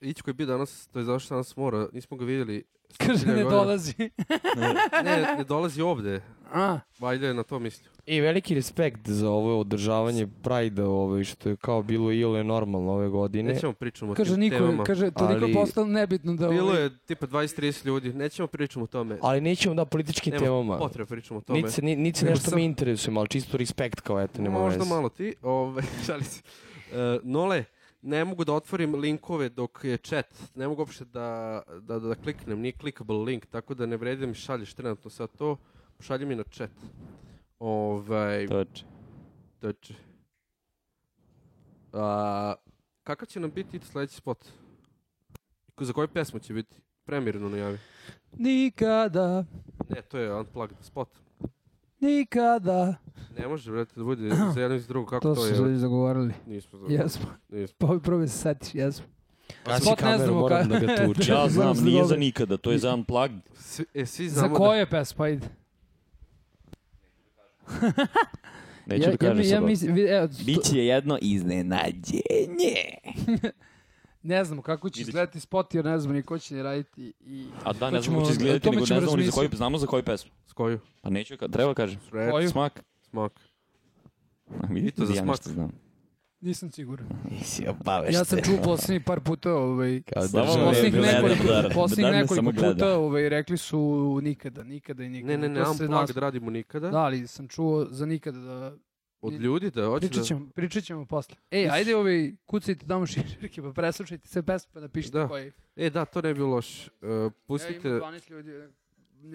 Ićko je bio danas, to je zašto danas mora, nismo ga vidjeli. Kaže, ne Hiljadu dolazi. godina. Ne, ne dolazi ovde. A, Valjda je na to mislio. I E, veliki respekt za ovo održavanje Prajda, ovaj, što je kao bilo iole normalno ove godine. Nećemo pričamo o kaže tim niko, temama. kaže, toliko ali- je postalo nebitno da... Bilo ovaj- je tipa 20-30 ljudi, nećemo pričamo o tome. Ali nećemo da političkim Nema temama. potrebe pričamo o tome. Niti se, ni- niti se Nego nešto sam- mi interesujemo, ali čisto respekt kao eto, nema Možda veze. malo ti, ovaj, šalim se. E, nole, ne mogu da otvorim linkove dok je chat. Ne mogu uopšte da, da, da kliknem, nije clickable link, tako da ne vredi da mi šalješ trenutno sad to. Šalji mi na chat. Ovaj, Toč. znači. A, kakav će nam biti sledeći spot? Za koju pesmu će biti? Premirno najavi. Nikada, Ne, to je unplugged spot. nikada. Ne može, brate, da bude za jedno i za drugo. Kako To to, su je? ljudi zagovarali. Nismo za... Jesmo. Nismo. Pa prvo se setiš, jesmo. Gasi Spot ne kameru, znamo moram kada- da ga tuče. Ja znam, Znam, nije dobro. za nikada, to je za unplugged. Svi, e, svi Za znamo da- koje pesma, ide? Neću da ja, kažem mi- ja, sad. ovo. mislim, vi- evo, to- Biće jedno iznenađenje. ne znamo kako će Vidjet ćemo. izgledati spot, jer ne znamo ni ko će ni raditi. I... A da, To ne ćemo- znamo kako o će izgledati, tome nego ćemo ne znamo ni za koju, razmisliti. znamo za koju pesmu. S koju? Pa neću, ka- treba kažem. Red, Koju? Smak. smak. Vidite to za da ja smak. nešto znam. Nisam siguran. Nisi obavešten. Ja sam čuo poslednji par puta, ovaj, Kao Samo država ovo je poslednjih bilo bila- nekoliko, gledam, poslednjih da, da, samo nekoliko gledam. puta ovaj, rekli su nikada, nikada i nikada. Ne, ne, ne, To se unplugged nas- radimo nikada. Da, ali sam čuo za nikada da... Od ljudi da hoće Pričat da... ćemo, pričat ćemo posle. E, ajde ovaj, kucajte tamo širke, pa preslušajte sve pesme, pa napišite Da. koji. E, da, to ne bi bilo loš. E, Pustite... pustite... Evo ima 12 ljudi,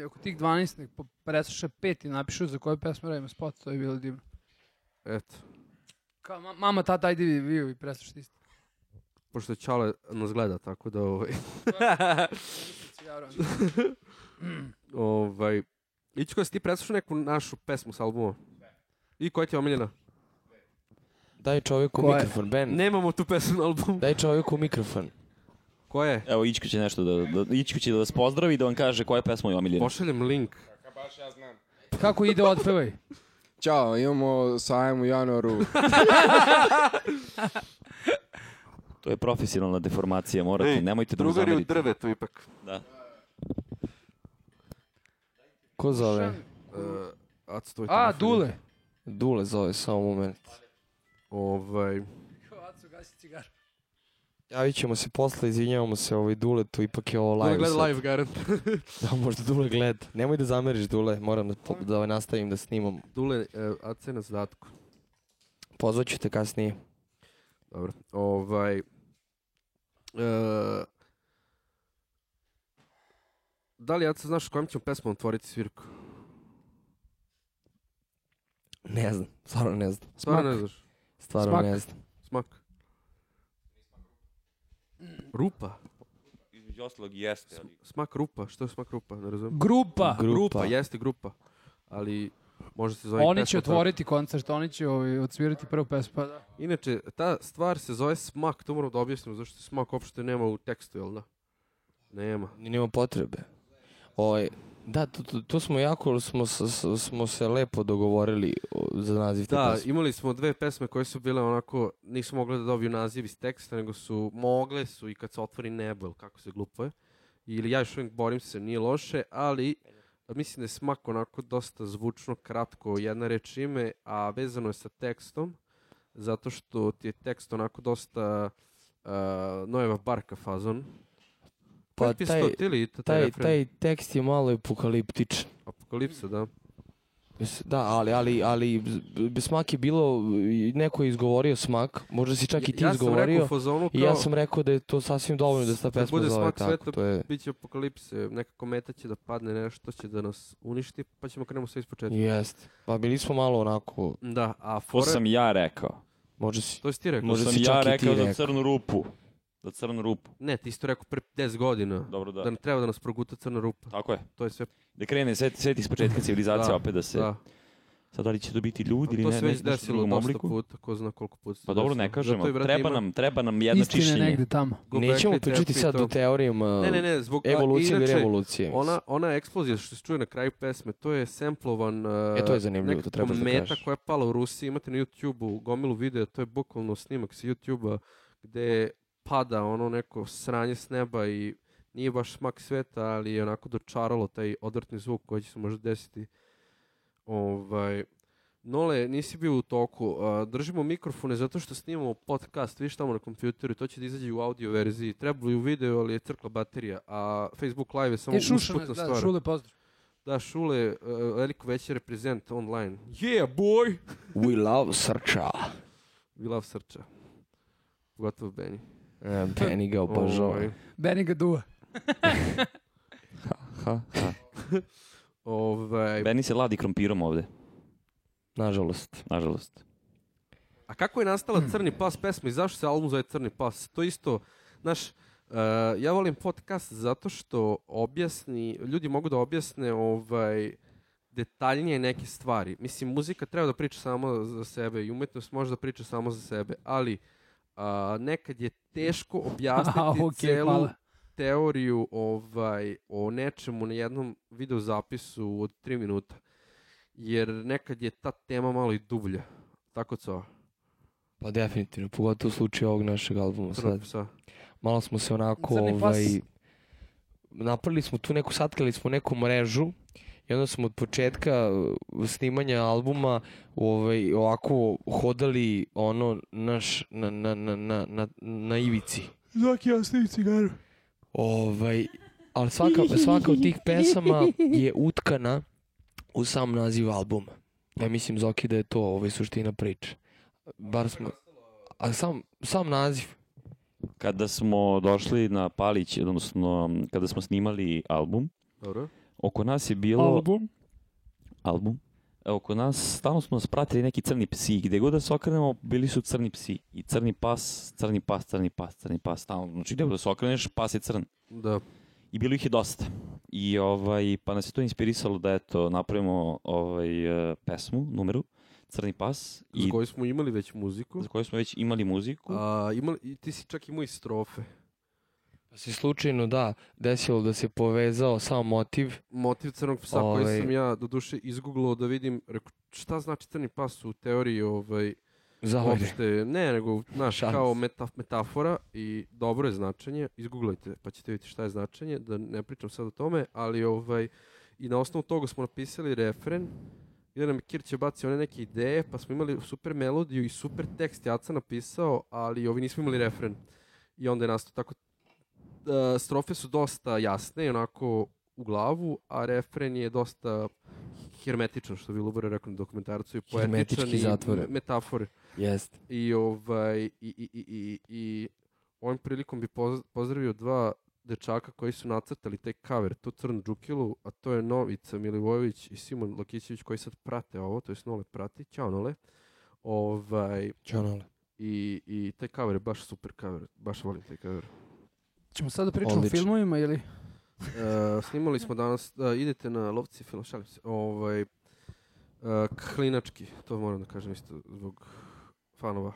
e, ako tih 12 nek po- presluša pet i napišu za koju pesmu radimo spot, to je bilo divno. Eto, Kao, ma- mama, tata, ajde vi, vi, vi preslušajte isto. pošto Čale nas gleda, tako da ovaj... ovaj... Ići koja si ti preslušao neku našu pesmu s albuma? I koja ti je omiljena? Daj čovjeku Ko je? mikrofon, Ben. Nemamo tu pesmu na albumu. Daj čovjeku mikrofon. Koja je? Evo, Ičko će nešto da, da, Ičko će da vas pozdravi i da vam kaže koja pesma je omiljena. Pošaljem link. Kako ide, otpevaj. Ćao, imamo sajam u januaru. To je profesionalna deformacija, morate, nemojte da mu zamerite. drvetu ipak. Da. Ko zove? E, a, stoj, A, telefon. Dule. Dule zove, samo moment. Ovaj... Aco, gasi cigar. Javit ćemo se posle, izvinjavamo se ovaj Duletu, ipak je ovo live. Dule gleda sad. live, garant. Da, možda Dule gleda. Nemoj da zameriš Dule, moram da, po- da ovaj nastavim da snimam. Dule, e, AC na zadatku. Pozvaću te kasnije. Dobro. Ovaj... e, da li, Aca, znaš kojom ćemo pesmom otvoriti svirku? Ne znam, stvarno ne znam. Stvarno Pa ne znaš. Stvarno Smak. ne znam. Smak. Rupa? Između ostalog jeste. Smak rupa? Što je smak rupa? Ne razumijem. Grupa. Grupa. Grupa, jeste grupa. Ali može se zove i Oni će pesma tako. otvoriti koncert, oni će ovaj, odsvirati prvu pesmu. Pa da. Inače, ta stvar se zove smak, to moram da objasnim, zašto smak uopšte nema u tekstu, jel da? Nema. Ni nema potrebe. Ovaj, da, tu, tu, tu smo jako, smo, s- s- smo se lepo dogovorili o, za naziv te Da, pesme. imali smo dve pesme koje su bile onako, nisu mogle da dobiju naziv iz teksta, nego su, mogle su i kad se otvori nebo, ili kako se glupo je. Ili ja još uvijek borim se, nije loše, ali mislim da je smak onako dosta zvučno, kratko, jedna reč ime, a vezano je sa tekstom, zato što ti je tekst onako dosta uh, Nojeva Barka fazon. Pa Koji ti taj- stotili, taj, taj, refren? taj tekst je malo apokaliptičan. Apokalipsa, da. Mis- Da, ali, ali, ali b- b- smak je bilo, i neko je izgovorio smak, možda si čak i ti ja sam izgovorio. rekao u fazonu kao... I ja sam rekao da je to sasvim dovoljno da se ta Da pesma bude zove smak tako. sveta. To je... Biće apokalipse, neka kometa će da padne, nešto će da nas uništi, pa ćemo krenemo sve ispočetka. Jest. Pa bili smo malo onako, Da, a To fora... sam ja rekao. možda si... To si ti rekao. Možda to sam si ja čak i ti rekao za rekao. crnu rupu. Za crnu rupu. Ne, ti si to rekao pre 10 godina. Dobro da. Da nam treba da nas proguta crna rupa. Tako je. To je sve. Da krene sve, sve iz početka civilizacije Da, opet da se... Da. Sad da li će to biti ljudi Ali ili to ne, se ne, već nešto u desilo drugom dosta obliku. puta, ko zna koliko puta se Pa dobro, desilo. ne kažemo. Zato i, brate, treba ima nam, treba nam jedno Istine čišćenje. negde tamo. go Nećemo backlit pričati terapy sad i to. o teorijama Ne, ne, ne, zbog a, evolucije ili inače, revolucije. mislim. Ona, ona eksplozija što se čuje na kraju pesme, to je semplovan... Uh, E, to je zanimljivo, to trebaš da meta kažeš. koja je pala u Rusiji, imate na YouTube-u gomilu videa, to je bukvalno snimak sa YouTube-a gde pada ono neko sranje s neba i nije baš smak sveta, ali je onako dočaralo taj odvrtni zvuk koji će se možda desiti. Ovaj, Nole, nisi bio u toku. A, držimo mikrofone zato što snimamo podcast, viš tamo na kompjuteru, i to će da izađe u audio verziji. Trebalo je u video, ali je crkla baterija, a Facebook Live je samo E, Šušane, usputna da, stvar. Šule, pozdrav. Da, Šule, e, veliko veće reprezent online. Yeah, boy! We love srča. We love srča. Pogotovo Benny. E, Benny ga obožava. Ovaj, Beni ga duva. Ha, ha. ovaj, Beni se ladi krompirom ovde, Nažalost. nažalost. A kako je nastala Crni pas pesma i zašto se album zove Crni pas? To je isto, znaš, e, ja volim podcast zato što objasni, ljudi mogu da objasne ovaj, detaljnije neke stvari. Mislim, muzika treba da priča samo za sebe i umetnost može da priča samo za sebe, ali a, nekad je teško objasniti A, okej, celu hvala. teoriju ovaj, o nečemu na jednom videozapisu od 3 minuta. Jer nekad je ta tema malo i dublja. Tako co? Pa definitivno, pogotovo u slučaju ovog našeg albuma sad. Crnog psa. Malo smo se onako, Crni pas. ovaj, napravili smo tu neku, satkali smo neku mrežu i onda smo od početka uh, snimanja albuma ovaj, ovako hodali ono naš, na, na, na, na, na, na ivici. Zaki, ja snim cigaru. Ovaj, ali svaka, svaka od tih pesama je utkana u sam naziv albuma. Ja mislim, Zoki, da je to ovaj, suština priče. Bar smo... A sam, sam naziv. Kada smo došli na Palić, odnosno kada smo snimali album, Dobro. oko nas je bilo... Album. album. E, Oko nas stalno smo nas pratili neki crni psi. Gde god da se okrenemo, bili su crni psi. I crni pas, crni pas, crni pas, crni pas. Stalno. Znači, gde god da se okreneš, pas je crn. Da. I bilo ih je dosta. I ovaj, pa nas je to inspirisalo da eto, napravimo ovaj, e, pesmu, numeru, Crni pas. I... Za I koju smo imali već muziku. za koju smo već imali muziku. A, imali, i ti si čak imao i strofe. Pa se slučajno, da, desilo da se povezao sam motiv. Motiv crnog psa koji Ovaj. sam ja doduše izgooglao da vidim rekao, šta znači crni pas u teoriji ovaj, Zahvaljujem. uopšte, ne, nego naš, Šans. kao metaf, metafora i dobro je značenje, izgooglajte pa ćete vidjeti šta je značenje, da ne pričam sad o tome, ali ovaj, i na osnovu toga smo napisali refren, gde nam je Kirće bacio one neke ideje, pa smo imali super melodiju i super tekst, ja sam napisao, ali ovi nismo imali refren. I onda je nastao tako, e, strofe su dosta jasne, i onako u glavu, a refren je dosta hermetičan, što bi Lubor rekao na dokumentarcu, i Hermetički poetičan i zatvoren. metafore. Jeste. I ovaj i i i i i ovim prilikom bi poz- pozdravio dva dečaka koji su nacrtali taj cover, tu crnu džukilu, a to je Novica Milivojević i Simon Lakićević koji sad prate ovo, to jest Nole prati, ćao Nole. Ovaj, Ćao, Nole. i, I taj cover je baš super cover, baš volim taj cover. Ćemo sad da pričamo o Odlično. filmovima ili... E, snimali smo danas, da, idete na lovci film, šalim se, ovaj, e, klinački, to moram da kažem isto zbog fanova.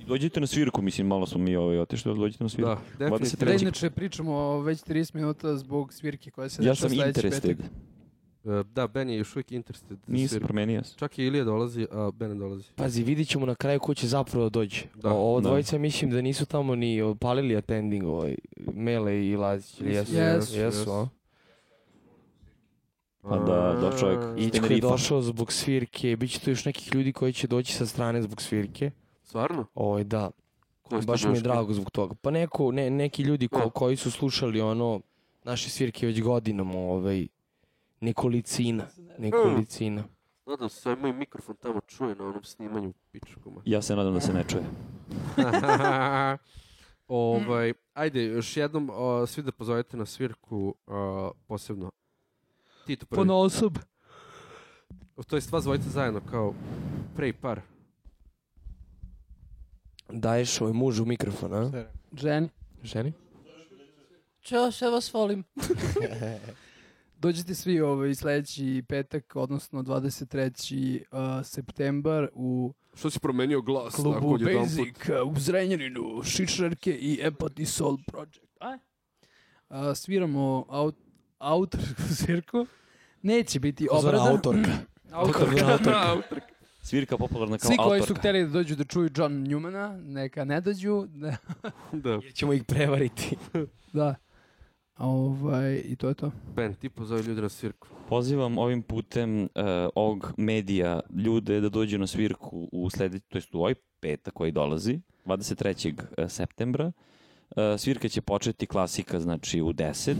I dođite na svirku, mislim, malo smo mi ovaj, otišli, ali dođite na svirku. Da, definitivno. Da, Treći- inače pričamo već 30 minuta zbog svirke koja se Ja dešava sam Da, sledeći petak. interested. E, da, Ben je još uvijek interested. za Nisam svirku. promenio se. Čak i Ilija dolazi, a Ben ne dolazi. Pazi, vidit ćemo na kraju ko će zapravo dođe. Da, Da, Ovo da. dvojica mislim da nisu tamo ni opalili attending ovaj, Mele i Lazić. ili Jesu, Jesu, jesu, jesu, jesu, a? jesu. Pa da, došao čovjek. A, I- Ičko je Tenerife. došao zbog svirke, bit će tu još nekih ljudi koji će doći sa strane zbog svirke. Stvarno? Ovaj, da, Ko baš mi je Boško? drago zbog toga. Pa neko, ne, neki ljudi ko, Da. koji su slušali ono naše svirke već godinom, ovaj, nekolicina, nekolicina. Nadam se, ovaj moj mikrofon tamo čuje na onom snimanju pičkoma. Ja se nadam da se ne čuje. ovaj, ajde, još jednom o, svi da pozovete na svirku o, posebno. Ti tu prvi. Pono osob. To je sva zvojica zajedno, kao prej par. Daješ ovaj mužu mikrofon, a? Ženi, Ženi? Ćao, sve vas volim. dođite svi ovaj sledeći petak, odnosno 23. Uh, septembar u Što si promenio glas? tako, klubu odjedanput? Basic uh, u Zrenjaninu, Šičarke i Empathy Soul Project. A? Uh, sviramo aut, autorsku svirku. Neće biti obrada. autorka. Autorka. Svirka popularna kao Svi koji su autorka. hteli da dođu da čuju John Newmana, neka ne dođu. Da. da. Ćemo ih prevariti. da. Ovaj, I to je to. Ben, ti pozovi ljudi na svirku. Pozivam ovim putem uh, ovog medija ljude da dođu na svirku u sledeći, to jest u ovaj petak koji dolazi, 23. eh, septembra. Eh, svirka će početi klasika, znači u 10.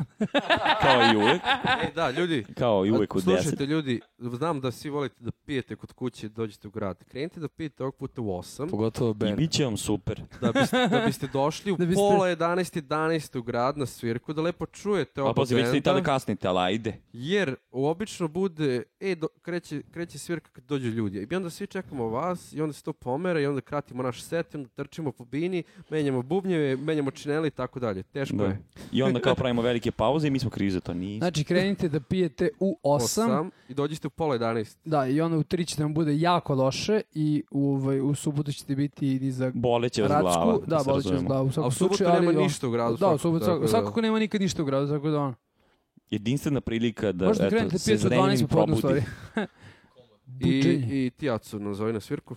kao i uvek. E, da, ljudi, Kao i uvek u 10. Slušajte ljudi, znam da svi volite da pijete kod kuće, dođete u grad. Krenite da pijete ovog puta u 8, Pogotovo I Ben. bit će vam super. da biste, da biste došli u Da biste- pola 11, 11 u grad na svirku, da lepo čujete A oba pazi, već ste i tada benda, kasnite, ali ajde. jer obično bude, e, do, kreće, kreće svirka kad dođu ljudi. I onda svi čekamo vas i onda se to pomera i onda kratimo naš set, i onda trčimo po bini, menjamo bubnjeve, menjamo činele i tako dalje. Teško Da. je. I onda kao pravimo velike pauze i mi smo krize, to nije. Znači, krenite da pijete u 8. Osam I dođete u pola 11. Da, i onda u 3 ćete vam bude jako loše i u, ovaj, u subotu ćete biti ni za Boleće vas Radsku. glava. da, se bolit će vas razumemo. glava u A u svakom subotu slučaju. ali nema on- ništa u gradu. Da, u svakako, subotu tako svakako, da. svakako nema nikad ništa u gradu, tako da ono. Jedinstvena prilika da Možete eto, krenuti da se pijete od zrenjanin 12 popodne, u probudi. stvari. I, Buđenje. i ti Acu nazovi na svirku.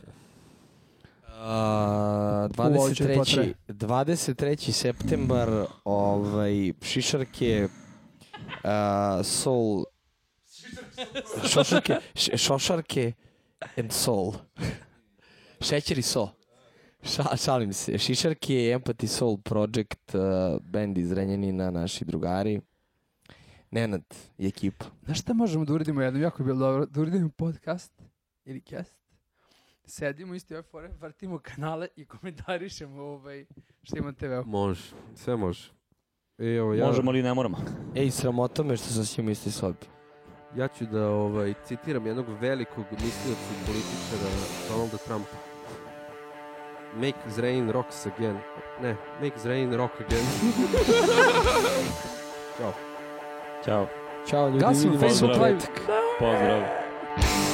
A, Ovo će 23. potre. 23. septembar, ovaj, šišarke, a, soul, šošarke, š- šošarke and soul. Šećer i so. Ša, šalim se. Šišarke, Empathy Soul Project, a, band iz Renjanina, naši drugari. Nenad i ekipa. Znaš šta možemo da uradimo jednom? Jako bi bilo dobro da uradimo podcast ili cast. Sedimo isto ove fore, vrtimo kanale i komentarišemo ovaj, šta ima na TV-u. Može, sve može. E, evo, ja, Možemo li ne moramo. Ej, sramota me što sam s njim u istoj sobi. ja ću da ovaj, citiram jednog velikog mislioca i političara Donalda Trumpa. Make Zrain rocks again. Ne, make Zrain rock again. Ćao. Ćao ljudi, Gasimo vidimo se u Da Facebook Live. petak. Pozdrav.